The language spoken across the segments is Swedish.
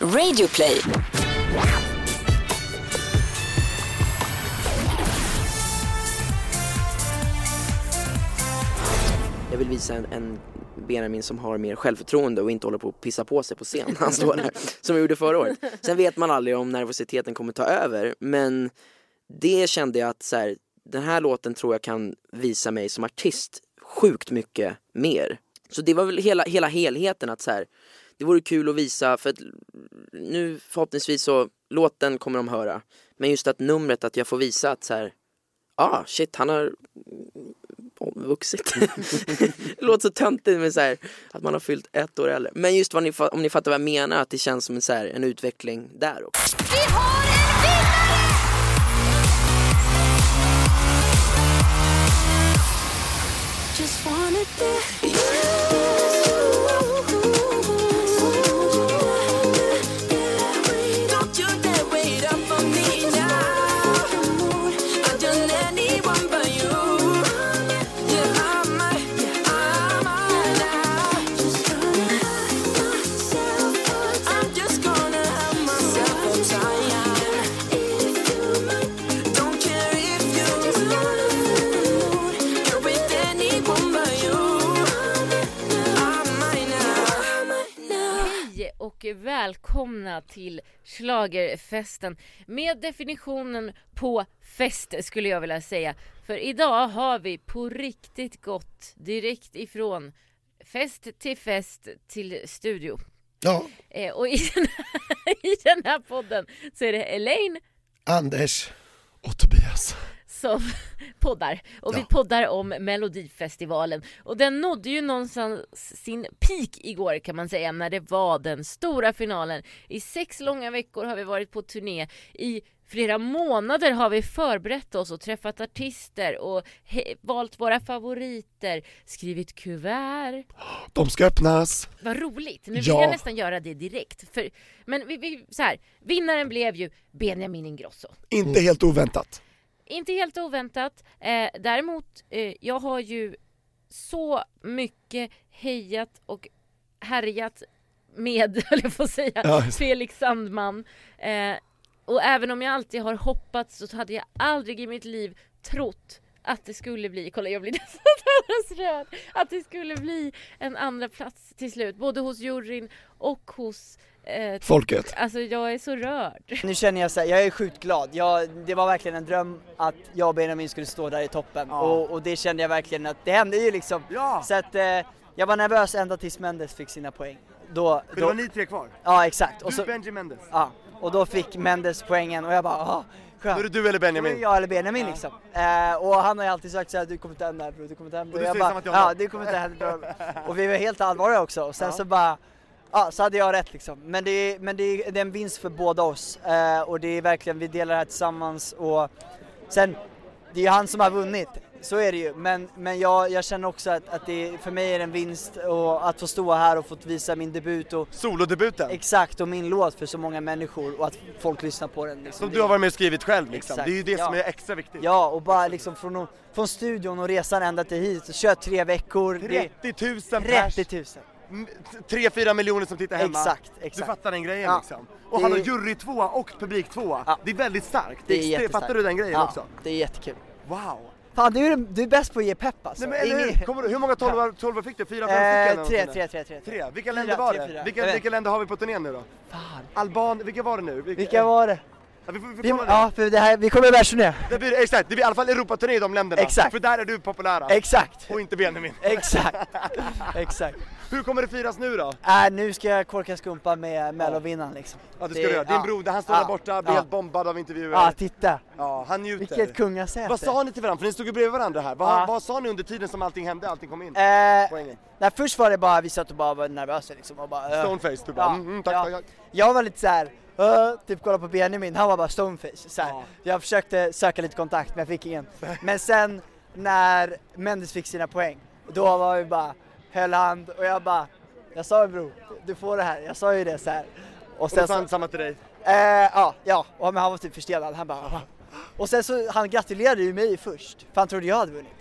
Radioplay. Jag vill visa en, en Benjamin som har mer självförtroende och inte håller på att pissa på sig på scen när han står där. som jag gjorde förra året. Sen vet man aldrig om nervositeten kommer ta över. Men det kände jag att så här, den här låten tror jag kan visa mig som artist sjukt mycket mer. Så det var väl hela, hela helheten att så här, det vore kul att visa för att nu förhoppningsvis så låten kommer de höra. Men just att numret att jag får visa att så här, ah shit han har omvuxit. det låter så töntigt men så här, att man har fyllt ett år äldre. Men just vad ni, fa- om ni fattar vad jag menar, att det känns som en, så här, en utveckling där också. Vi har en vinnare! Just wanna be Hej och välkomna till Schlagerfesten med definitionen på fest skulle jag vilja säga. För idag har vi på riktigt gått direkt ifrån fest till fest till studio. Ja, Eh, och i den, här, i den här podden så är det Elaine Anders. Och Tobias. som poddar och vi Ja. poddar om Melodifestivalen och den nådde ju någonstans sin peak igår kan man säga när det var den stora finalen. I sex långa veckor har vi varit på turné i Flera månader har vi förberett oss och träffat artister och he- valt våra favoriter, skrivit kuvert. De ska öppnas. Vad roligt! Nu vill Ja. jag nästan göra det direkt. För, men vi, vi, så här, vinnaren blev ju Benjamin Ingrosso. Inte helt oväntat. Inte helt oväntat. Eh, däremot, eh, jag har ju så mycket hejat och härjat med, höll jag på att säga, Ja, just det. Felix Sandman. Eh, och även om jag alltid har hoppats så hade jag aldrig i mitt liv trott att det skulle bli, kolla jag blir nästan alldeles röd, att det skulle bli en andra plats till slut, både hos juryn och hos eh, Folket. Alltså jag är så rörd. Nu känner jag så här, jag är sjukt glad. Jag, det var verkligen en dröm att jag och Benjamin skulle stå där i toppen och, och det kände jag verkligen att det hände ju liksom. Så att eh, jag var nervös ända tills Mendes fick sina poäng. Då, För det var då, ni tre kvar. ja exakt. Och, Du, så, Benji Mendes. ja, och då fick Mendes poängen och jag bara ah, Då är det skönt. du eller Då är det Benjamin. jag eller Benjamin liksom. Eh, och han har ju alltid sagt såhär, du kommer inte hem där bror, du kommer inte hem. Och du jag säger bara, samma till honom. ja du kommer inte hem bror. Och vi var helt allvarliga också och sen så bara, ja så hade jag rätt liksom. Men det är, men det är, det är en vinst för båda oss eh, och det är verkligen, vi delar det här tillsammans och sen, det är ju han som har vunnit. Så är det ju, men, men jag, jag känner också att, att det för mig är det en vinst och att få stå här och få visa min debut och Solodebuten. exakt och min låt för så många människor och att folk lyssnar på den. Liksom. Som Det- du har varit med och skrivit själv liksom. Exakt, Det är ju det ja. som är extra viktigt. Ja, och bara liksom från, från studion och resan ända till hit, så kör tre veckor. det 30 000 är pers. 30 000. 3-4 miljoner som tittar hemma. Exakt, Du exakt. fattar den grejen Ja. liksom. Och Det han är- har jury tvåa och publik tvåa. Ja. Det är väldigt starkt. Det är Extre- jättestarkt. Fattar du den grejen ja, också? det är jättekul. Wow! Fan, du är, du är bäst på att ge pepp alltså. Nej men eller hur? Ingen- Kommer du, hur många tolvar, tolvar fick du? Fyra, fem stycken? Eh, eller tre, tre, någonting? tre, tre. Tre? Vilka Fyra, länder var tre, det? fyra. Jag Vilka, vet. vilka länder har vi på turnén nu då? Fan. Alban, vilka var det nu? Vilka var det? Ja, vi får, vi får Vi, kolla Eh, det. ja, för det här, vi kommer världsturné. Det blir, exakt, det blir i alla fall Europaturné i de länderna. Exakt. För där är du populära. Exakt, Eh. och inte Benjamin. exakt, exakt. Hur kommer det firas nu då? Äh, nu ska jag korka skumpa med mellovinnaren liksom. Ja, det ska du göra. Din ja. broder, han står Ja. där borta, blir Ja. helt bombad av intervjuer. Ja, titta. Ja, han njuter. Vilket kungasäte. Vad sa ni till varandra? För ni stod ju bredvid varandra här. Vad, Ja. vad sa ni under tiden som allting hände, allting kom in? Eh, Poängen. nej, först var det bara, vi satt och bara var nervösa liksom och bara... eh. Stoneface, du bara Ja, mm, mm, tack, ja. tack, tack. Jag var lite såhär, uh, typ kolla på Benjamin, han var bara stoneface. Såhär. Ja. Jag försökte söka lite kontakt men jag fick ingen. Men sen när Mendes fick sina poäng, då var vi bara, höll hand och jag bara, jag sa ju bror, du får det här, jag sa ju det såhär. Och Och då sen sa så, han samma till dig. eh, ja, ja, och men han var typ förstelad, han bara, "Ah." och sen så, han gratulerade ju mig först, för han trodde jag hade vunnit.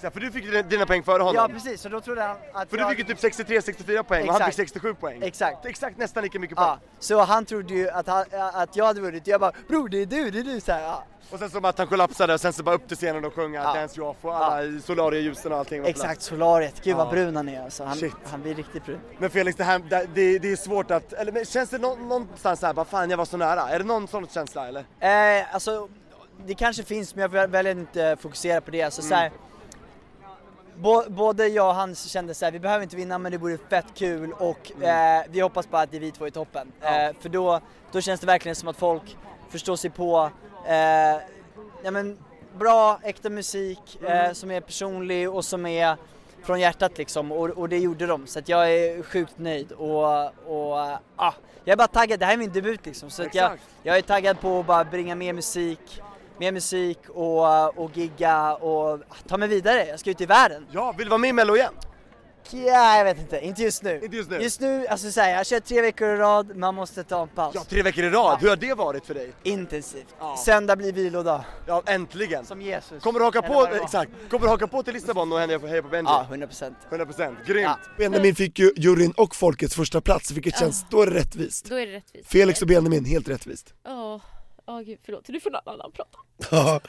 Så här, För du fick dina- dina poäng före honom. Ja precis, så då trodde han att För du jag... fick ju typ 63-64 poäng och han fick Exakt. 67 poäng. Exakt. Det är Exakt nästan lika mycket poäng. Ja, så han trodde ju att, han, att jag hade vunnit, jag bara bror det är du, det är du så här, ja. Och sen så bara att han kollapsade och sen så bara upp till scenen och sjunga Ja. Dance You Off och alla i solaria ljusen och allting var på Exakt, solariet, gud vad Ja. brun han är alltså. Han, Shit. han blir riktigt brun. plats. Men Felix, det, här, det, det, det är svårt att, eller men känns det nå, någonstans såhär, bara fan jag var så nära? Är det någon sån känsla eller? Eh, alltså, det kanske finns men jag väl- väljer inte fokusera på det. Alltså, så Mm. här, bo, både jag och han kände så här, vi behöver inte vinna men det vore fett kul och eh, vi hoppas bara att det är vi två i toppen. Eh, för då, då känns det verkligen som att folk förstår sig på eh, ja, men, bra, äkta musik eh, som är personlig och som är från hjärtat liksom och, och det gjorde de så att jag är sjukt nöjd och, och ah, jag är bara taggad, det här är min debut liksom så att jag, Exakt. jag är taggad på att bara bringa mer musik, mer musik och, och gigga och ah, ta mig vidare. Jag ska ut i världen. Ja, vill du vara med i mello igen? Ja, jag vet inte, inte just nu. Inte just nu. Just nu, alltså så här, jag har kört tre veckor i rad, man måste ta en paus. typ. Ja, tre veckor i rad, hur har det varit för dig? Intensivt. Ja. Söndag blir vilodag. Ja, äntligen! Som Jesus. Kommer du haka Eller på, vad det var. exakt, kommer du haka på till Lissabon och hänga på Heja på Benji? Ja, 100 procent. 100% grymt! Ja. Benjamin fick ju juryn och folkets första plats, vilket känns, då är det rättvist. Då är det rättvist. Felix och Benjamin, helt rättvist. Ja, ja gud förlåt. Nu får någon annan prata. Ja.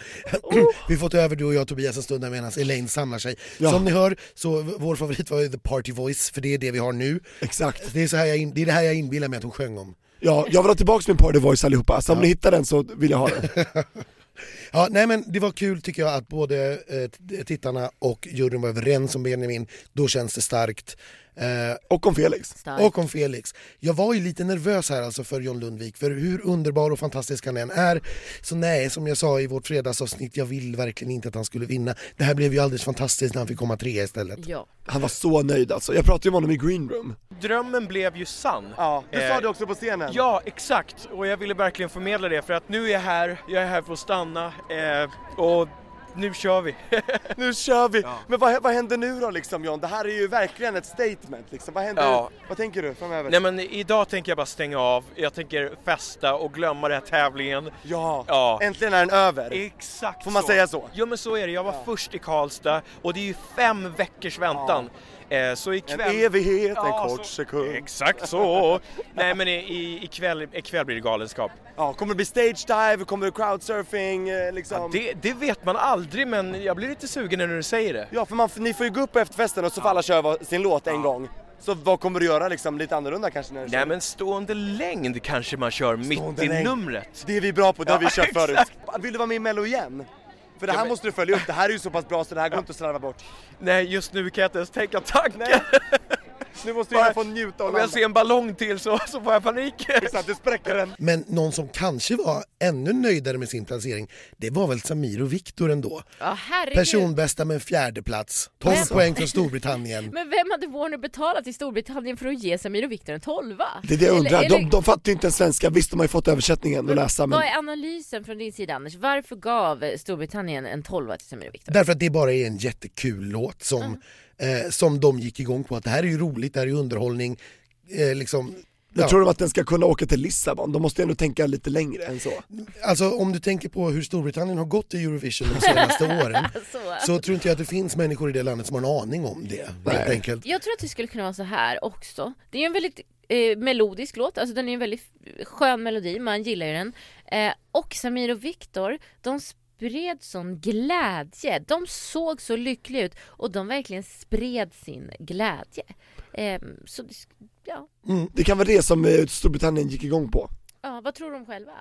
Mm, Vi får ta över du och jag Tobias en stund där medan Elaine samlar sig. Som ni hör så v- vår favorit var ju The Party Voice för det är det vi har nu. Exakt. Det är, så här jag in, det, är det här jag inbillar mig att hon sjöng om. Ja, jag vill ha tillbaks min party voice allihopa, så om ni hittar den så vill jag ha den. Ja, nej men det var kul tycker jag att både eh, t- tittarna och juryn var överens om Benjamin. Då känns det starkt. Eh, Och om Felix. Och om Felix. Jag var ju lite nervös här alltså för John Lundvik, för hur underbar och fantastisk han än är. Så nej, som jag sa i vårt fredagsavsnitt, jag vill verkligen inte att han skulle vinna. Det här blev ju alldeles fantastiskt när han fick komma trea istället. Ja. Han var så nöjd alltså. Jag pratade ju med honom i green room. Drömmen blev ju sann. Ja, du Eh, sa det också på scenen. Ja, exakt. Och jag ville verkligen förmedla det för att nu är jag här, jag är här för att stanna eh, och nu kör vi. Nu kör vi! Men vad, vad händer nu då liksom John? Det här är ju verkligen ett statement liksom. Vad händer? Ja. Vad tänker du framöver? Nej men idag tänker jag bara stänga av, jag tänker festa och glömma den här tävlingen. Ja. Ja. äntligen är den över. Exakt Får man så. säga så? Jo men så är det, jag var först i Karlstad och det är ju fem veckors väntan. Eh, så En ikväll... evighet, Ja, en kort så- sekund. Exakt så! Nej men i- i- ikväll, ikväll blir det galenskap. Ja, kommer det bli stage dive, kommer det crowdsurfing eh, liksom? Ja, det, det vet man aldrig men jag blir lite sugen när du säger det. Ja, för man, ni får ju gå upp på efterfesten och så får alla köra var- sin låt en gång. Så vad kommer du göra liksom lite annorlunda kanske när du kör? Nej men stående längd kanske man kör mitt Stående i längd. numret. Det är vi bra på, det har vi Ja, kört förut. exakt. Vill du vara med i Mello igen? För det här men- måste du följa upp, det här är ju så pass bra så det här går inte att slarva bort. Nej just nu kan jag inte ens tänka tanken. Nu måste jag få njuta och Om jag landa. ser en ballong till så, så får jag panik. Exakt, du spräcker den. Men någon som kanske var ännu nöjdare med sin placering, det var väl Samir och Viktor ändå. Ja herregud. Personbästa med en fjärde plats. 12 poäng från Storbritannien. Men vem hade Warner betalat till Storbritannien för att ge Samir och Viktor en tolva? Det är det jag Eller- undrar. eller- De, de fattar ju inte ens svenska. Visst, de har ju fått översättningen att läsa men... Vad är analysen från din sida Anders? Varför gav eh, Storbritannien en tolva till Samir och Viktor? Därför att det bara är en jättekul låt som, eh, som de gick igång på. Att det här är ju roligt, det här är ju underhållning. Eh, liksom, Jag ja. tror de att den ska kunna åka till Lissabon? De måste ju ändå tänka lite längre än så. Alltså om du tänker på hur Storbritannien har gått i Eurovision de senaste åren Så. så tror inte jag att det finns människor i det landet som har en aning om det. Helt enkelt. Jag tror att det skulle kunna vara så här också. Det är ju en väldigt eh, melodisk låt, alltså den är ju en väldigt skön melodi, man gillar ju den. Eh, och Samir och Viktor, de spred sån glädje. De såg så lyckliga ut och de verkligen spred sin glädje. Eh, så, det sk- ja. Mm. Det kan vara det som eh, Storbritannien gick igång på. ja, vad tror de själva?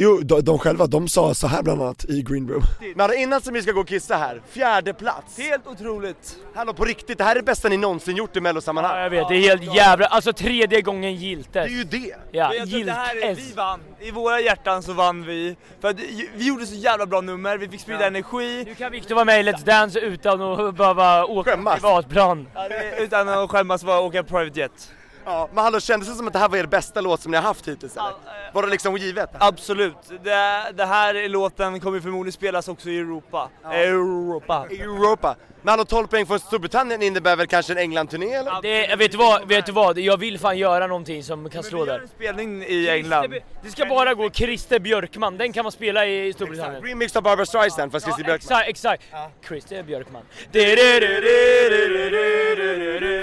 Jo, de, de själva, de sa så här bland annat i green room. Men innan Samir ska gå och kissa här, fjärde plats. Helt otroligt! Hallå på riktigt, det här är det bästa ni någonsin gjort i mellosammanhang. Ja, jag vet, det är helt jävla... Alltså tredje gången Det är giltet. ju det! Ja, Vet du, det här är, vi gilt vann. I våra hjärtan så vann vi. För att ju- vi gjorde så jävla bra nummer, vi fick sprida energi Nu kan Viktor vara med i Let's Dance utan att behöva åka Skämmas. privatplan. Ja, det- utan att skämmas för att åka private jet. Ja, men hallå kändes det som att det här var er bästa låt som ni har haft hittills eller? eh, Var det liksom givet? Absolut. Det, det här låten kommer förmodligen spelas också i Europa. Europa. Europa! Men hallå 12 poäng från Storbritannien innebär väl kanske en England-turné eller? Det, vet, du vad, vet du vad, jag vill fan göra någonting som kan slå där. Spelning i England. Det ska bara gå Christer Björkman, den kan man spela i Storbritannien. Remix av Barbra Streisand fast Christer Björkman. Exakt, exakt. Christer Björkman.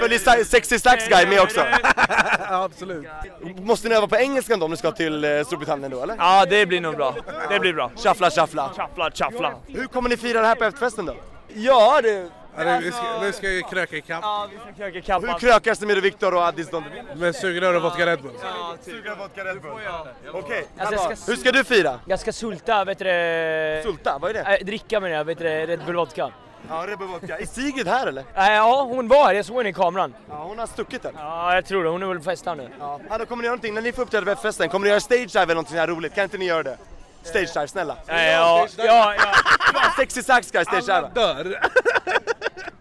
Följer Sa- Sexy Sax Guy med också? Absolut. Måste ni öva på engelska då om ni ska till eh, Storbritannien då eller? Ja, det blir nog bra. Det blir bra. Shuffla, shuffla. Shuffla, shuffla. Hur kommer ni fira det här på efterfesten då? Ja du. Ja, det- vi ska- nu ska vi kröka ikapp. Alltså- Ja, vi ska kröka ikapp. Hur krökas det med Viktor och Addis Don typ. Med sugrör och vodka Red Bull. Ja, Sugrör, vodka, Red Bull. Okej, Alltså, jag ska- hur ska du fira? Jag ska sulta, vet du det- Sulta, vad är det? Äh, dricka menar jag, vet du det, Red Bull Vodka. Ja, Red Bull Vodka. Är Sigrid här eller? Äh, ja, hon var här, jag såg henne i kameran. Ja, hon har stuckit den. Ja, jag tror det. Hon är väl på fest här nu. Ja. Hallå, kommer ni göra någonting när ni får uppträda på efterfesten? Kommer ni göra stage dive eller någonting här roligt? Kan inte ni göra det? Stage dive, snälla. Ja, ja, ja, ja. Sexy sax guys, stage dive. dör.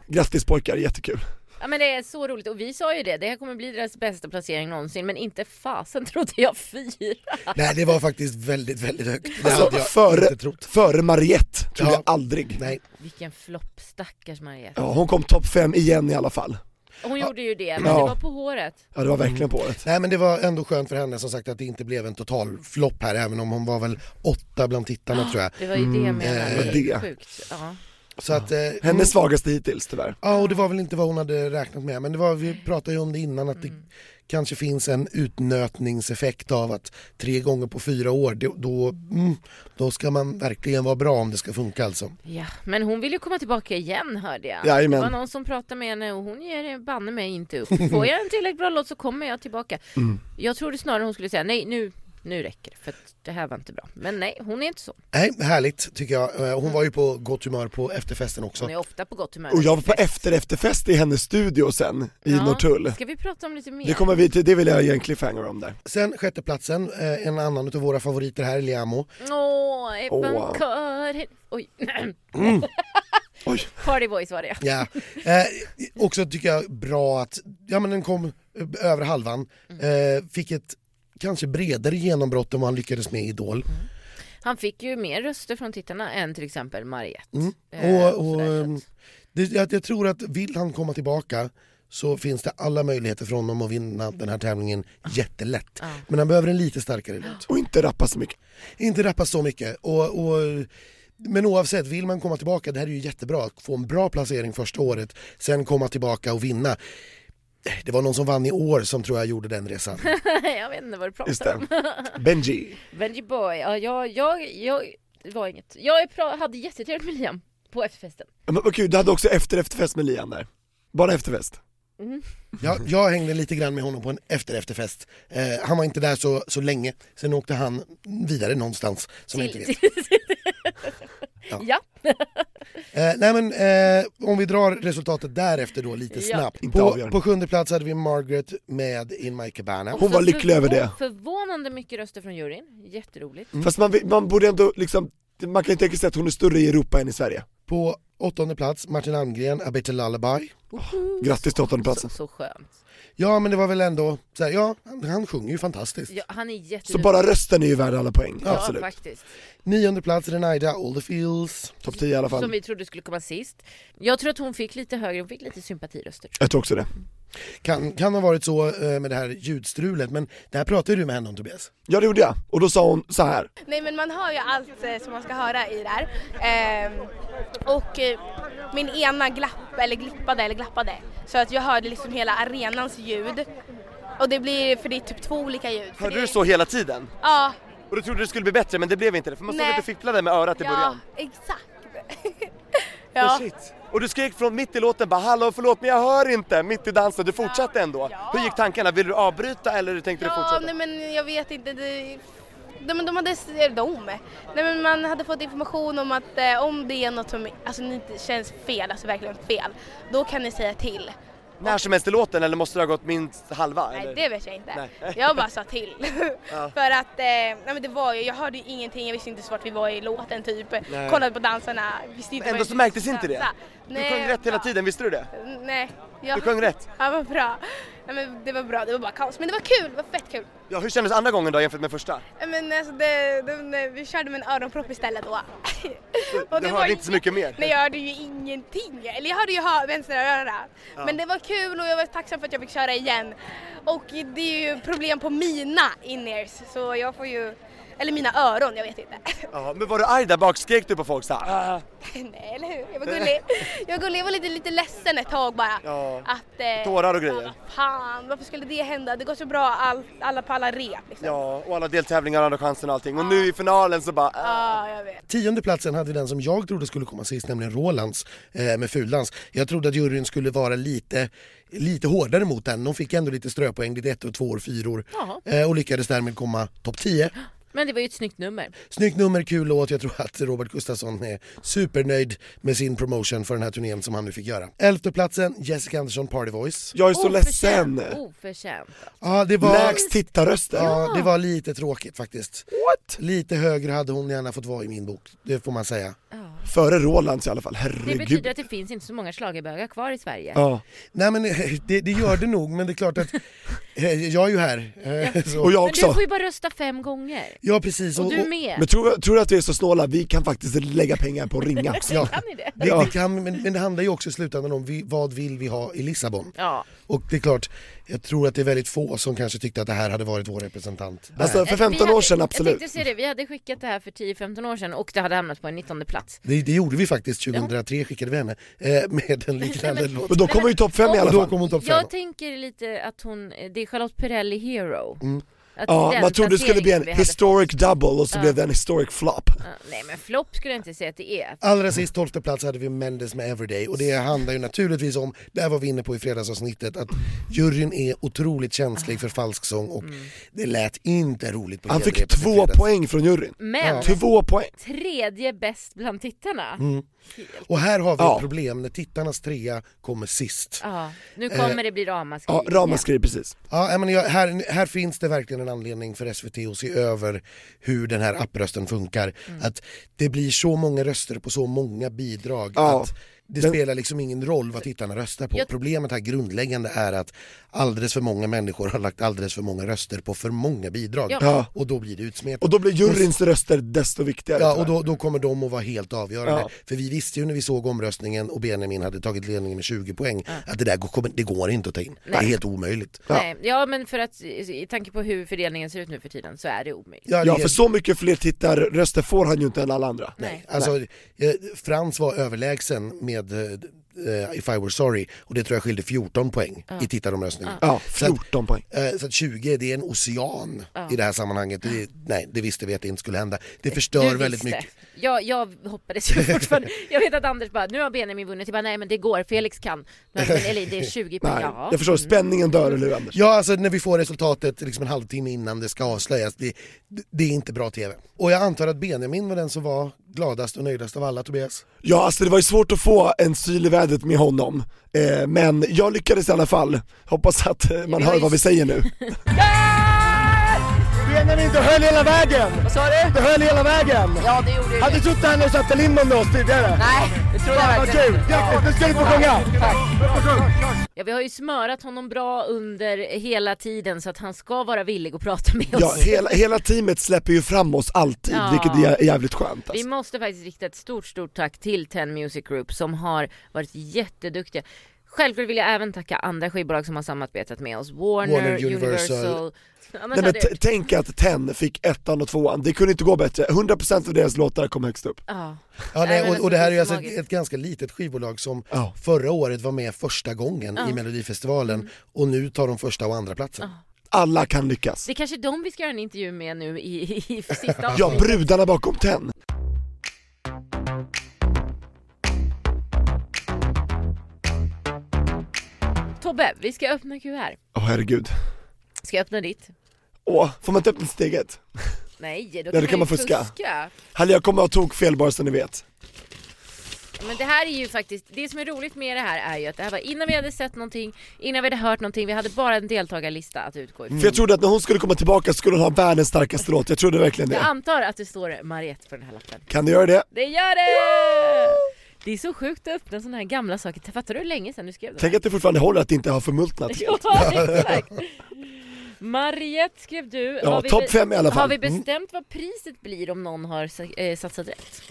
Grattis pojkar, jättekul. Ja men det är så roligt och vi sa ju det, det här kommer bli deras bästa placering någonsin men inte fasen trodde jag fyra. Nej det var faktiskt väldigt, väldigt högt. Det Alltså hade jag inte före, trott. före Mariette tror Ja. jag aldrig. Nej. Vilken flopp, stackars Mariette. Ja, hon kom topp fem igen i alla fall. Hon gjorde ju det, men Ja. det var på håret. Ja det var verkligen på året. Nej men det var ändå skönt för henne som sagt att det inte blev en total flopp här även om hon var väl åtta bland tittarna tror jag. Det var ju det jag menade. det var Mm. Eh, det. Sjukt. Ja. Så att, eh, Hennes svagaste hittills tyvärr. Ja, och det var väl inte vad hon hade räknat med. Men det var, vi pratade ju om det innan att det kanske finns en utnötningseffekt av att tre gånger på fyra år, det- då, mm, då ska man verkligen vara bra om det ska funka alltså. ja, men hon vill ju komma tillbaka igen hörde jag. Jajamän. Det var någon som pratade med henne och hon ger banne mig inte upp. Får jag en tillräckligt bra låt så kommer jag tillbaka. Mm. Jag trodde snarare hon skulle säga nej nu, nu räcker det för att det här var inte bra. Men nej, hon är inte så. Nej, härligt tycker jag. Eh, Hon var ju på gott humör på efterfesten också. Hon är ofta på gott humör. Och jag var på efter efterfest i hennes studio sen i Ja. Norrtull. Ska vi prata om lite mer? Det kommer vi till, det vill jag ge en cliffhanger om där. Sen sjätteplatsen, eh, en annan av våra favoriter här, Liamo. Åh, oh, Åh. Mm. Oj, Oj. Party Boys var det. Ja. Eh, också tycker jag bra att, ja men den kom eh, över halvan, Mm. eh, fick ett kanske bredare genombrott än vad han lyckades med i Idol. Han fick ju mer röster från tittarna än till exempel Mariette. Mm. Eh, Och, och och, sådär, så ehm, att- det, jag, jag tror att vill han komma tillbaka så finns det alla möjligheter för honom att vinna den här tävlingen jättelätt. Ja. Men han behöver en lite starkare låt. Och inte rappa så mycket. Inte rappa så mycket. Och, och, men oavsett, vill man komma tillbaka, det här är ju jättebra. Att få en bra placering första året, sen komma tillbaka och vinna. Det var någon som vann i år som tror jag gjorde den resan. jag vet inte vad du Just pratar om. det. Benji. Benji Boy, ja, jag, jag, jag, det var inget. Jag är pra- hade jättetrevligt med Liam på efterfesten. Ja, Men vad kul, du hade också efter efterfest med Lian där. Bara efterfest. Jag, jag hängde lite grann med honom på en efter-efterfest. Eh, han var inte där så, så länge, sen åkte han vidare någonstans som jag inte vet. ja. Ja. Eh, nej men eh, om vi drar resultatet därefter då lite Ja. snabbt. Inte På, avgörande. på sjunde plats hade vi Margaret med In My Cabana. Hon var Så lycklig över det. Förvånande mycket röster från juryn, jätteroligt. Fast man, vill- man borde ändå liksom, man kan ju tänka sig att hon är större i Europa än i Sverige. På åttonde plats Martin Almgren, A Better Lullaby. Grattis till Så, åttondeplatsen. Mm. så skönt. Ja men det var väl ändå, så här, ja han, han sjunger ju fantastiskt. Ja, han är Så jätteduktig. bara rösten är ju värd alla poäng, Ja, absolut. faktiskt. Nionde plats Renaida, All The Feels. Topp 10 i alla Som fall. vi trodde skulle komma sist. Jag tror att hon fick lite högre, hon fick lite sympatiröster. Jag tror också det. Kan, kan ha varit så eh, med det här ljudstrulet men det här pratade du med henne om Tobias. Ja det gjorde jag, och då sa hon så här. Nej men man hör ju allt eh, som man ska höra i det här. Ehm, och eh, min ena glapp, eller glippade eller glappade. Så att jag hörde liksom hela arenans ljud. Och det blir, för det är typ två olika ljud. För Hörde det, du så hela tiden? Ja, Och du trodde det skulle bli bättre men det blev inte det för man stod Nej. lite och fipplade med örat i ja början. exakt. Oh, shit. Och du skrek från mitt i låten bara hallå förlåt men jag hör inte mitt i dansen, du fortsatte ändå. Hur gick tankarna? Ville du avbryta eller tänkte du Ja, fortsätta? nej men jag vet inte. Det, de, de hade, de, nej men man hade fått information om att eh, om det är något som alltså, ni inte känns fel, alltså verkligen fel, då kan ni säga till. När som helst i låten eller måste det ha gått minst halva? Nej, eller? det vet jag inte. Nej. Jag bara sa till. Ja. För att, eh, nej men det var ju, jag hörde ju ingenting, jag visste inte ens vart vi var i låten typ. Nej. Kollade på dansarna, visste inte vad Men ändå jag så märktes skulle inte det. dansa. Du sjöng rätt hela tiden, visste du det? Nej. Jag, Du sjöng rätt. Ja, vad bra. Nej, men det var bra, det var bara kaos. Men det var kul, det var fett kul. Ja, hur kändes andra gången då jämfört med första? Nej, Men alltså det, det, vi körde med en öronpropp istället då. Och Du det var hörde inte så mycket mer? Nej jag hörde ju ingenting, eller jag hörde ju hö- vänstra öra. Ja. Men det var kul och jag var tacksam för att jag fick köra igen. Och det är ju problem på mina in-ears så jag får ju, eller mina öron, jag vet inte. Ja, men var du arg där bak? Skrek du på folk såhär? Nej eller hur? Jag var gullig. Jag var gullig, jag var lite, lite ledsen ett tag bara. Ja. Att, eh, Tårar och grejer? Fan, varför skulle det hända? Det går så bra all, alla på alla rep liksom. Ja, och alla deltävlingar och andra chansen och allting. Och nu i finalen så bara... Ja, äh. jag vet. Tionde platsen hade vi den som jag trodde skulle komma sist, nämligen Rolands eh, med Fuldans. Jag trodde att juryn skulle vara lite, lite hårdare mot den. De fick ändå lite ströpoäng, lite ett och två och fyror Ja. eh, och lyckades därmed komma topp 10. Men det var ju ett snyggt nummer. Snyggt nummer, kul låt. Jag tror att Robert Gustafsson är supernöjd med sin promotion för den här turnén som han nu fick göra. Elfte platsen, Jessica Andersson Party Voice. Jag är så Oförtjänt, Oförtjänt. Ja, det var... Lägst tittarröster. Ja, det var lite tråkigt faktiskt. What? Lite högre hade hon gärna fått vara i min bok, det får man säga. Före Rolands i alla fall, Det herregud. betyder att det finns inte så många schlagerbögar kvar i Sverige. Nej men eh, det, det gör det nog, men det är klart att eh, jag är ju här. eh, så. Men du får ju bara rösta fem gånger. Ja precis. Och du med. Men tror, tror du att vi är så snåla? Vi kan faktiskt lägga pengar på att ringa. Ja. Kan ni det? Det, det kan, men, men det handlar ju också i slutändan om vi, vad vill vi ha i Lissabon? Ja. Och det är klart, jag tror att det är väldigt få som kanske tyckte att det här hade varit vår representant. där. Alltså, för Eh, Vi hade- Jag Det, tänkte säga det, vi hade skickat det här för 10-15 år sedan och det hade hamnat på en 19 plats. det gjorde vi faktiskt, 2003 skickade vi henne eh, med en liknande låt. Men då kom hon ju topp fem i alla Då fall. kom hon topp fem. Jag tänker lite att hon, det är Charlotte Perrelli Hero. Mm. Att Ja, den man trodde det skulle bli en placeringen vi hade- historic double och så Ja. blev det en historic flop. Ja, Nej men flopp skulle jag inte säga att det är. Allra sist, tolfte plats, hade vi Mendes med Everyday och det handlar ju naturligtvis om, det här var vi inne på i fredagsavsnittet, att juryn är otroligt känslig för falsksång och det lät inte roligt på Han fick genrepet i två fredags. poäng från juryn. Mm. Men- Två poäng. Tredje bäst bland tittarna. Mm. Och här har vi Ja. ett problem när tittarnas trea kommer sist. Ja, nu Eh, kommer det bli ramaskri. precis. Ja, jag menar, jag, här, här finns det verkligen en anledning för SVT att se över hur den här apprösten funkar. Mm. Att det blir så många röster på så många bidrag Ja. att det Den- spelar liksom ingen roll vad tittarna röstar på. Jag- Problemet här grundläggande är att alldeles för många människor har lagt alldeles för många röster på för många bidrag Ja. Ja. och då blir det utsmetat. Och då blir juryns röster desto viktigare. Ja, och tyvärr. då, då kommer de att vara helt avgörande. Ja. För vi visste ju när vi såg omröstningen och Benjamin hade tagit ledningen med 20 poäng att det där går, kommer- det går inte att ta in. Det Nej. är helt omöjligt. Nej, ja men för att i i tanke på hur fördelningen ser ut nu för tiden så är det omöjligt. Ja, det Ja, är- för så mycket fler tittarröster får han ju inte än alla andra. Nej. Alltså, eh, Frans var överlägsen med eh, If I Were Sorry och det tror jag skilde 14 poäng Ja. i tittaromröstningen. Ja, Så att- 14 poäng. Eh, Så att 20, det är en ocean Ja. i det här sammanhanget. Det, nej, det visste vi att det inte skulle hända. Det Du förstör visste. väldigt mycket. Jag, jag hoppades ju fortfarande. Jag vet att Anders bara, nu har Benjamin vunnit. Jag bara, nej men det går, Felix kan. Men, men, eller det är 20 poäng. Nej, Ja. jag förstår, spänningen dör, eller hur Anders? Ja, alltså när vi får resultatet liksom en halvtimme innan det ska avslöjas, det, det är inte bra TV. Och jag antar att Benjamin var den som var gladast och nöjdast av alla, Tobias. Ja, alltså det var ju svårt att få en syl i vädret med honom, eh, men jag lyckades i alla fall. Hoppas att eh, man Det var hör ju- vad vi säger nu. Benjamin, du höll hela vägen! Vad sa du? Du höll hela vägen! Ja, det gjorde jag. Hade du trott att han hade satt en lind med oss tidigare? Nej, det tror Fan, vad kul! Grattis, nu ska du få sjunga! Ja, vi har ju smörat honom bra under hela tiden så att han ska vara villig att prata med oss. Ja, hela, hela teamet släpper ju fram oss alltid, Ja. vilket är jä- jävligt skönt. Vi Alltså. måste faktiskt rikta ett stort, stort tack till Ten Music Group som har varit jätteduktiga. Självklart vill jag även tacka andra skivbolag som har samarbetat med oss. Warner, Warner, Universal. Universal. Annars Nej, men hade jag t- tänk att Ten fick ettan och tvåan, det kunde inte gå bättre. 100% av deras låtar kom högst upp. Ja. Ja, Nej, nej, men och, och det här är ju så alltså ett, magiskt. ett ganska litet skivbolag som förra året var med första gången Ja. Mm. i Melodifestivalen och nu tar de första och andra platsen. Alla kan lyckas. Det är kanske de vi ska göra en intervju med nu i, i, i sista Ja, avsnittet. brudarna bakom Ten. Tobbe, vi ska öppna kuvert. Åh herregud. Ska jag öppna ditt? Åh, får man inte öppna sitt eget? Nej, då Ja, kan, då man, kan man ju fuska. fuska. Halle jag kommer att ha tokfel bara så ni vet. Men det här är ju faktiskt, det som är roligt med det här är ju att det här var innan vi hade sett någonting, innan vi hade hört någonting, vi hade bara en deltagarlista att utgå ifrån. Mm. För jag trodde att när hon skulle komma tillbaka skulle hon ha världens starkaste låt, jag trodde verkligen Jag det. antar att det står Mariette på den här lappen. Kan du göra det? Det gör det! Det är så sjukt att öppna sådana här gamla saker. Fattar du hur länge sedan du skrev det? Tänk att det fortfarande håller att det inte har förmultnat helt. Ja, exakt. Mariette skrev du. Ja, Har vi topp be- fem i alla fall. Har vi Mm. bestämt vad priset blir om någon har sa- eh, satsat rätt?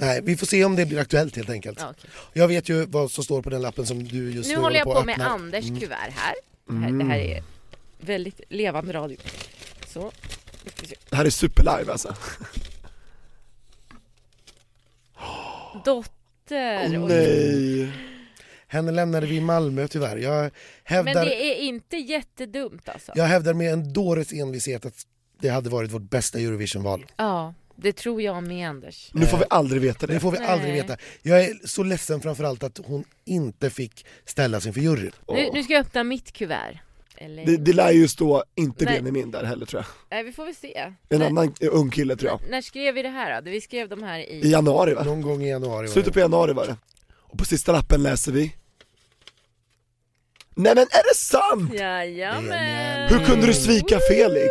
Nej, vi får se om det blir aktuellt helt enkelt. Ja, okej. Jag vet ju vad som står på den lappen som du just Nu nu, håller jag på att med öppna. Anders Mm. kuvert här. Det här, det här Mm. är väldigt levande radio. Så. Det här är superlive alltså. Dotter. Oj. Henne lämnade vi i Malmö tyvärr. Jag Men hävdar, det är inte jättedumt alltså. jag hävdar med en dåres envishet att det hade varit vårt bästa Eurovisionval. Ja, det tror jag med Anders. Nu får vi aldrig veta det. Det får vi Nej. aldrig veta. Jag är så ledsen framförallt att hon inte fick ställas inför juryn. Nu, nu ska jag öppna mitt kuvert. Eller... Det, det lär ju stå inte Nej. Benjamin där heller tror jag. Nej, vi får väl se. En När- annan eh, ung kille tror jag. När skrev vi det här då? Vi skrev de här i... I januari va? Någon gång i januari var Slutet på januari var det. Och på sista lappen läser vi Nej men är det sant? Jajamän! Hur kunde du svika Felix?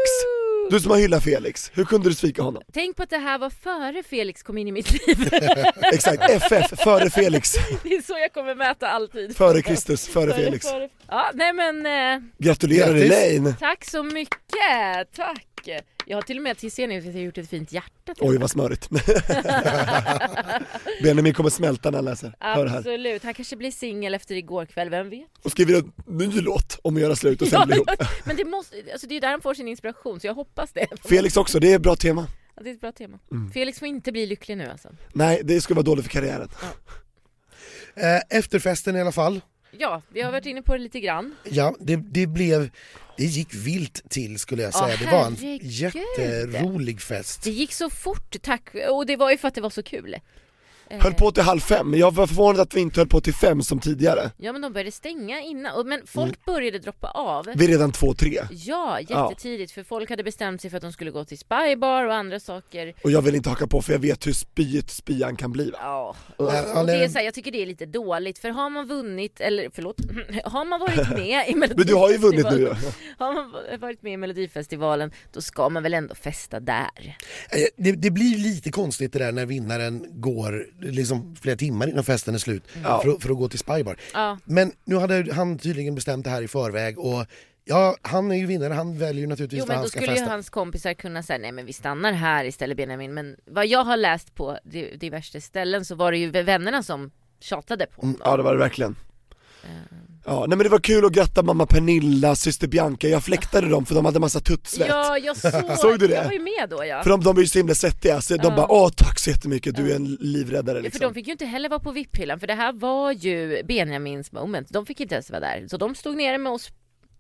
Du som har hyllat Felix, hur kunde du svika honom? Tänk på att det här var före Felix kom in i mitt liv. Exakt, FF, före Felix, Det är så jag kommer mäta alltid. före Kristus, före Felix. före- Ja, nej men... Eh, Gratulerar Grattis. Elaine! Tack så mycket! Tack! Jag har till och med till scenen jag har gjort ett fint hjärta till Oj vad smörigt. Benjamin kommer smälta när han läser. Hör det här. Absolut, han kanske blir singel efter igår kväll, vem vet? Och skriver en ny låt om att göra slut och sen bli ihop. men det, måste, alltså det är där han får sin inspiration, så jag hoppas det. Felix också, det är ett bra tema. Ja, det är ett bra tema. Mm. Felix får inte bli lycklig nu alltså. Nej, det skulle vara dåligt för karriären. Eh, Efterfesten i alla fall. Ja, vi har varit inne på det lite grann. Ja, det, det blev... Det gick vilt till skulle jag Ja, säga. det var en herregud. jätterolig fest. Det gick så fort, tack, och det var ju för att det var så kul. Eh, Höll på till halv fem, men jag var förvånad att vi inte höll på till fem som tidigare. Ja men de började stänga innan, och- men folk Mm. började droppa av. Vi är redan två, tre. Ja, Ja. jättetidigt för folk hade bestämt sig för att de skulle gå till spybar och andra saker. Och jag vill inte haka på för jag vet hur spyet spyan kan bli va? Ja. Uh. Och det är så här, jag tycker det är lite dåligt för har man vunnit, eller förlåt, har man varit med i Men du har ju vunnit nu ju. Har man varit med i Melodifestivalen då ska man väl ändå festa där? Eh, Det, det blir lite konstigt det där när vinnaren går liksom flera timmar innan festen är slut Mm. Ja. för, att- för att gå till Spybar. Ja. Men nu hade han tydligen bestämt det här i förväg och ja, han är ju vinnare, han väljer ju naturligtvis Jo när men han då ska skulle ju festa. hans kompisar kunna säga nej men vi stannar här istället Benjamin men vad jag har läst på di- diverse ställen så var det ju vännerna som tjatade på honom. Ja det var det verkligen. Ehm. Ja, nej men det var kul att gratta mamma Pernilla, syster Bianca, jag fläktade dem för de hade massa tuttsvett. Ja jag såg, Såg du det? jag var ju med då ja. För de, de är ju så himla svettiga, så Ja. de bara åh tack så jättemycket, du är en livräddare Ja, För liksom. de fick ju inte heller vara på VIP-hyllan för det här var ju Benjamins moment. De fick inte ens vara där. Så de stod nere med oss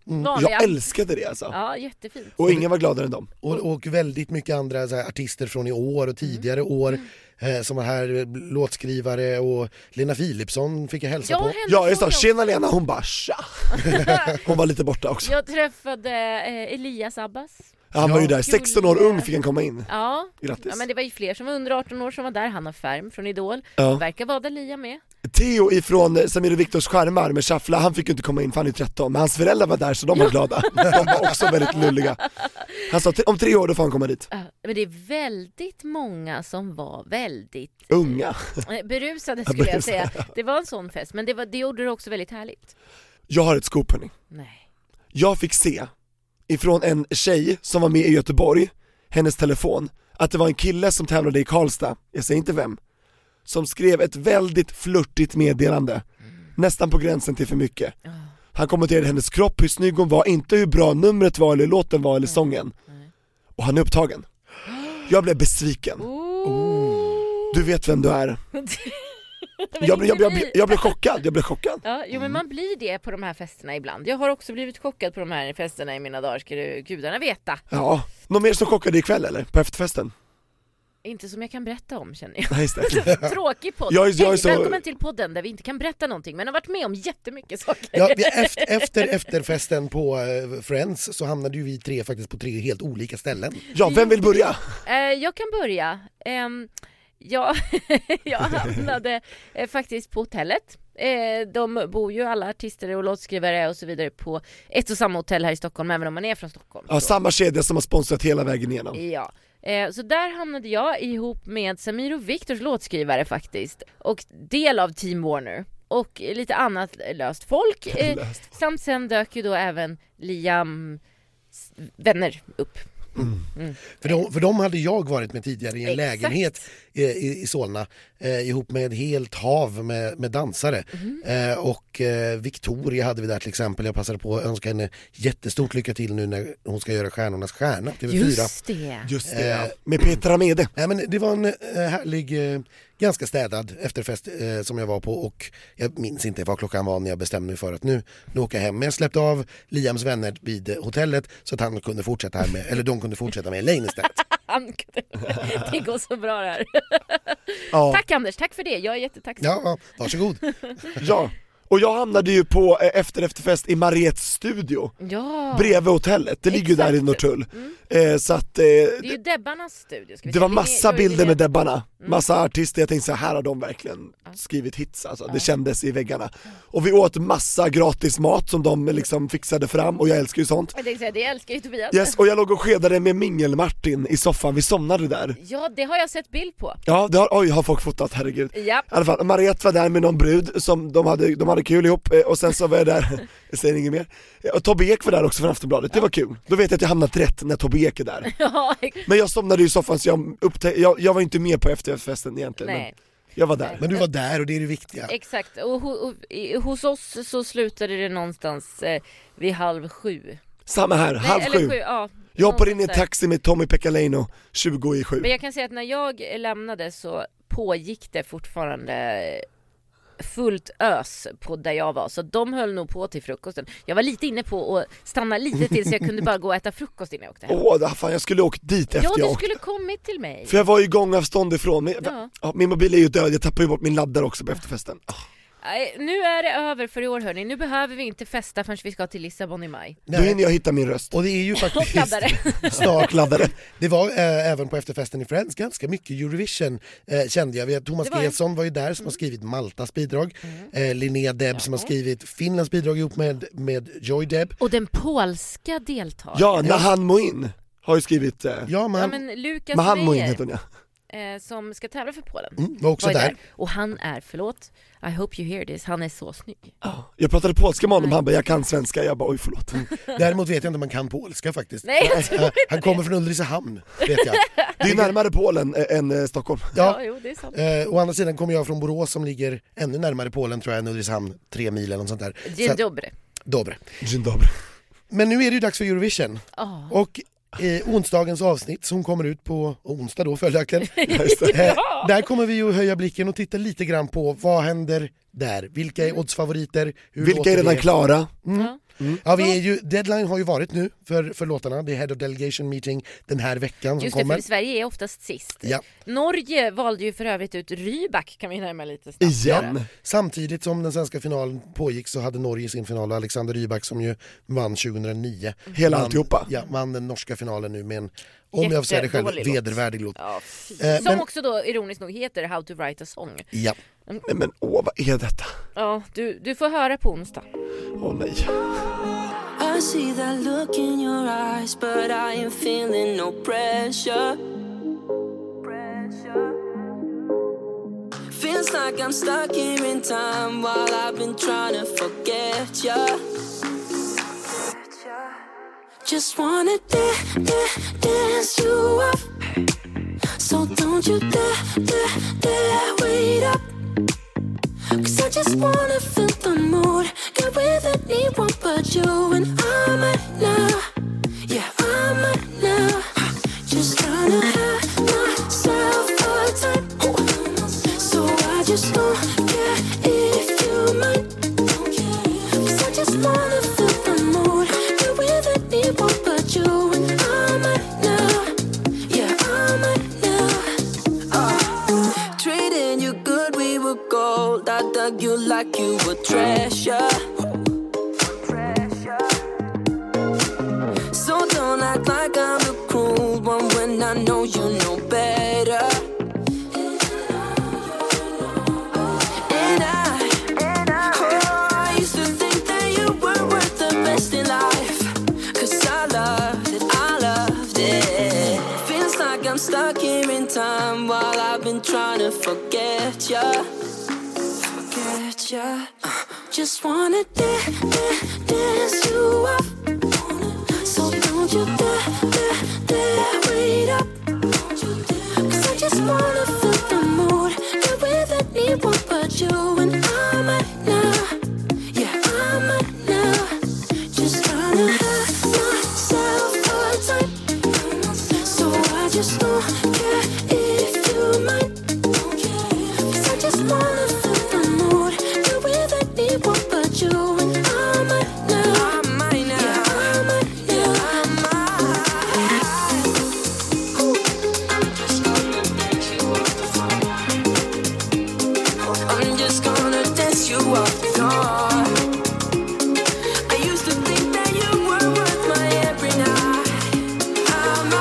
Mm. vanliga. Jag älskade det alltså. Ja, jättefint. Och ingen var gladare än dem. Och, och väldigt mycket andra så här, artister från i år Mm. och tidigare år eh, som var här, eh, låtskrivare och Lena Philipsson fick jag hälsa Ja, på. henne Ja jag sa tjena Lena, hon bara tja. Hon var lite borta också. Jag träffade eh, Elias Abbas. Ja, han var ju Ja. där, 16 år ung fick han komma in. Ja. Grattis. ja, men det var ju fler som var under 18 år som var där. Hanna Färm från Idol. Ja. Verkar vara där Lia med. Theo ifrån eh, Samir och Viktors skärmar med Shuffla, han fick ju inte komma in för han är 13, men hans föräldrar var där så de var glada. De var också väldigt lulliga. Han sa "Tre- om tre år då får han komma dit. Ja, Men det är väldigt många som var väldigt Unga. eh, berusade skulle jag Berusade. säga. Det var en sån fest, men det, var, det gjorde det också väldigt härligt. Jag har ett scoop hörni. Nej. Jag fick se ifrån en tjej som var med i Göteborg, hennes telefon, att det var en kille som tävlade i Karlstad, jag säger inte vem, som skrev ett väldigt flörtigt meddelande, nästan på gränsen till för mycket. Han kommenterade hennes kropp, hur snygg hon var, inte hur bra numret var eller hur låten var eller sången. Och han är upptagen. Jag blev besviken. Du vet vem du är. Jag blev, jag, blev- jag, blev- jag blev chockad, jag blev chockad. Ja, jo men man blir det på de här festerna ibland. Jag har också blivit chockad på de här festerna i mina dagar, ska du gudarna veta. Ja, någon mer som chockade ikväll eller? På efterfesten? Inte som jag kan berätta om känner jag. Nej, just det. Tråkig podd. Jag är- jag är Hej, så- Välkommen till podden där vi inte kan berätta någonting men har varit med om jättemycket saker. Ja, vi, efter, efter efterfesten på eh, Friends så hamnade ju vi tre faktiskt på tre helt olika ställen. Ja, vem vill börja? Eh, jag kan börja. Ehm, jag, jag hamnade eh, faktiskt på hotellet. Eh, de bor ju alla artister och låtskrivare och så vidare på ett och samma hotell här i Stockholm även om man är från Stockholm. Ja, samma kedja som har sponsrat hela vägen igenom. Ja. Eh, Eh, så där hamnade jag ihop med Samir och Viktors låtskrivare faktiskt. Och del av Team Warner. Och eh, lite annat eh, löst folk. Eh, Löst Samt sen dök ju då även Liam s- vänner upp. Mm. För de, för de hade jag varit med tidigare i en Exakt. lägenhet i, i, i Solna eh, ihop med ett helt hav med, med dansare. Mhm. Eh, och eh, Victoria hade vi där till exempel. Jag passade på att önska henne jättestort lycka till nu när hon ska göra Stjärnornas stjärna, TV4. Just det. Just det, ja. Med Peter Amede. Nej, men det var en eh, härlig, eh, ganska städad efterfest eh, som jag var på och jag minns inte vad klockan var när jag bestämde mig för att nu, nu åker jag hem. Men jag släppte av Liams vänner vid eh, hotellet så att han kunde fortsätta här med, eller de kunde fortsätta med Elaine istället. Han Det går så bra det här. Ja. Tack Anders, tack för det. Jag är jättetacksam. varsågod. ja, och jag hamnade ju på eh, efter efterfest i Mariettes studio. Ja. Mm. Bredvid hotellet, det ligger ju där i Norrtull. Eh, så att eh, Det är ju Debbarnas studio. Ska vi det säga. var är- massa jag är- bilder med Debbarna, Mm. massa artister, jag tänkte så här har de verkligen skrivit hits alltså, det kändes i väggarna. Och vi åt massa gratis mat som de liksom fixade fram och jag älskar ju sånt. Jag tänkte säga, det älskar ju Tobias. Yes, och jag låg och skedade med Mingel-Martin i soffan, vi somnade där. Ja, det har jag sett bild på. Ja, det har, oj har folk fotat, herregud. Ja. I alla fall, Mariette var där med någon brud som de hade, de hade kul ihop eh, och sen så var jag där, jag säger inget mer. Eh, Och Tobbe Ek var där också från Aftonbladet, det var kul. Då vet jag att jag hamnat rätt när Tobbe Ek är där. Ja, Men jag somnade i soffan så jag, upptä- jag, jag var inte med på efterfesten egentligen. Nej. Men jag var där. Men du var där och det är det viktiga. exakt. Och, ho, och i- hos oss så slutade det någonstans eh, vid halv sju. Samma här, Nej, halv eller sju. sju, ja. jag hoppar in i en Någonstans där. taxi med Tommy Pekkaleno, 20 i sju. Men jag kan säga att när jag lämnade så pågick det fortfarande fullt ös på där jag var så de höll nog på till frukosten. Jag var lite inne på att stanna lite till så jag kunde bara gå och äta frukost innan jag åkte hem. Åh, oh, fan jag skulle åkt dit efter ja, jag du åkte. skulle kommit till mig. För jag var ju gångavstånd ifrån, min, Ja. ja, min mobil är ju död, jag tappade ju bort min laddare också på efterfesten. Ah. Nej, Nu är det över för i år hörni, nu behöver vi inte festa förrän vi ska till Lissabon i maj. Då hinner jag hitta min röst. Och det är ju Och faktiskt laddare. snart laddare. Det var eh, även på efterfesten i Friends ganska mycket Eurovision eh, kände jag. Vi har Thomas Det var det. Gesson var ju där som har Mm. skrivit Maltas bidrag. Eh, Linnea Deb som har skrivit Finlands bidrag ihop med, med Joy Deb. Och den polska deltagaren. Ja, Nahan Moin har ju skrivit... Eh, ja, Ja, men Lukas Mahan Moin Meyer heter hon ja. eh, som ska tävla för Polen Mm, var också ju där. Och han är, förlåt, I hope you hear this, han är så snygg. Jag pratade polska med honom, han bara 'jag kan svenska' jag bara 'oj förlåt' Mm. Däremot vet jag inte om man kan polska faktiskt. Nej, jag tror Eh, inte Han kommer från Ulricehamn, vet jag. Det är ju närmare Polen eh, än eh, Stockholm. Ja. jo, det är sant. Eh, å andra sidan kommer jag från Borås som ligger ännu närmare Polen tror jag än Ulricehamn, tre mil eller något sånt där. Så Dzień att- dobry. Dobre. Dzień dobry. Men nu är det ju dags för Eurovision. Ja. Och eh, onsdagens avsnitt som kommer ut på onsdag då följaktligen. just det. Eh, där kommer vi ju höja blicken och titta lite grann på vad händer där? Vilka Mm. är oddsfavoriter? Hur Vilka låter är redan det? klara? Mm. Ja, vi är ju, deadline har ju varit nu för, för låtarna. Det är Head of Delegation Meeting den här veckan Just som det, kommer. för Sverige är oftast sist. Ja. Norge valde ju för övrigt ut Rybak, kan vi närma lite snabbt. Igen! Samtidigt som den svenska finalen pågick så hade Norge sin final och Alexander Rybak som ju vann Mm. 2009. Hela vann, alltihopa. Ja, vann den norska finalen nu med en, om jag får säga det själv, Jättedålig låt. vedervärdig låt. Ja, Eh, Som men- också då ironiskt nog heter How to write a song. Ja. Mm. Nej men åh vad är detta? Ja, du, du får höra på onsdag. Åh nej. I see that look in your eyes, but I ain't feeling no pressure. Feels like I'm stuck here in time while I've been trying to forget ya. Just wanna da- da- dance you up. So don't you dare, dare, dare wait up. Cause I just wanna feel the mood. Get with anyone but you and I'm out now. Yeah, I'm out now. Just tryna have myself a time. So I just don't care if you mind. Cause I just wanna feel the mood. Get with anyone but you and I'm out now. Yeah, I'm out now. Uh, treating you good, we were gold. I dug you like you were treasure. So don't act like I'm the cruel one when I know you know better. And I, oh, I used to think that you were worth the best in life. Cause I loved it, I loved it. Feels like I'm I'm stuck here in time while I've been trying to forget ya. Forget ya. Just wanna da- da- dance you up. So don't you dare, dare, dare wait up. Cause I just wanna feel the mood. And with anyone but you and I'm a now. Yeah, I'm a now. Just trying to have myself a time. So I just don't care if you mind. Cause I just wanna feel the mood. You're with anyone but you and I'm a now. I'm a now. Yeah, I'm a now. I'm just gonna dance you up, God. I used to think that you were worth my every night. I'm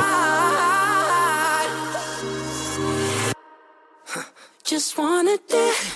out. Just wanna da-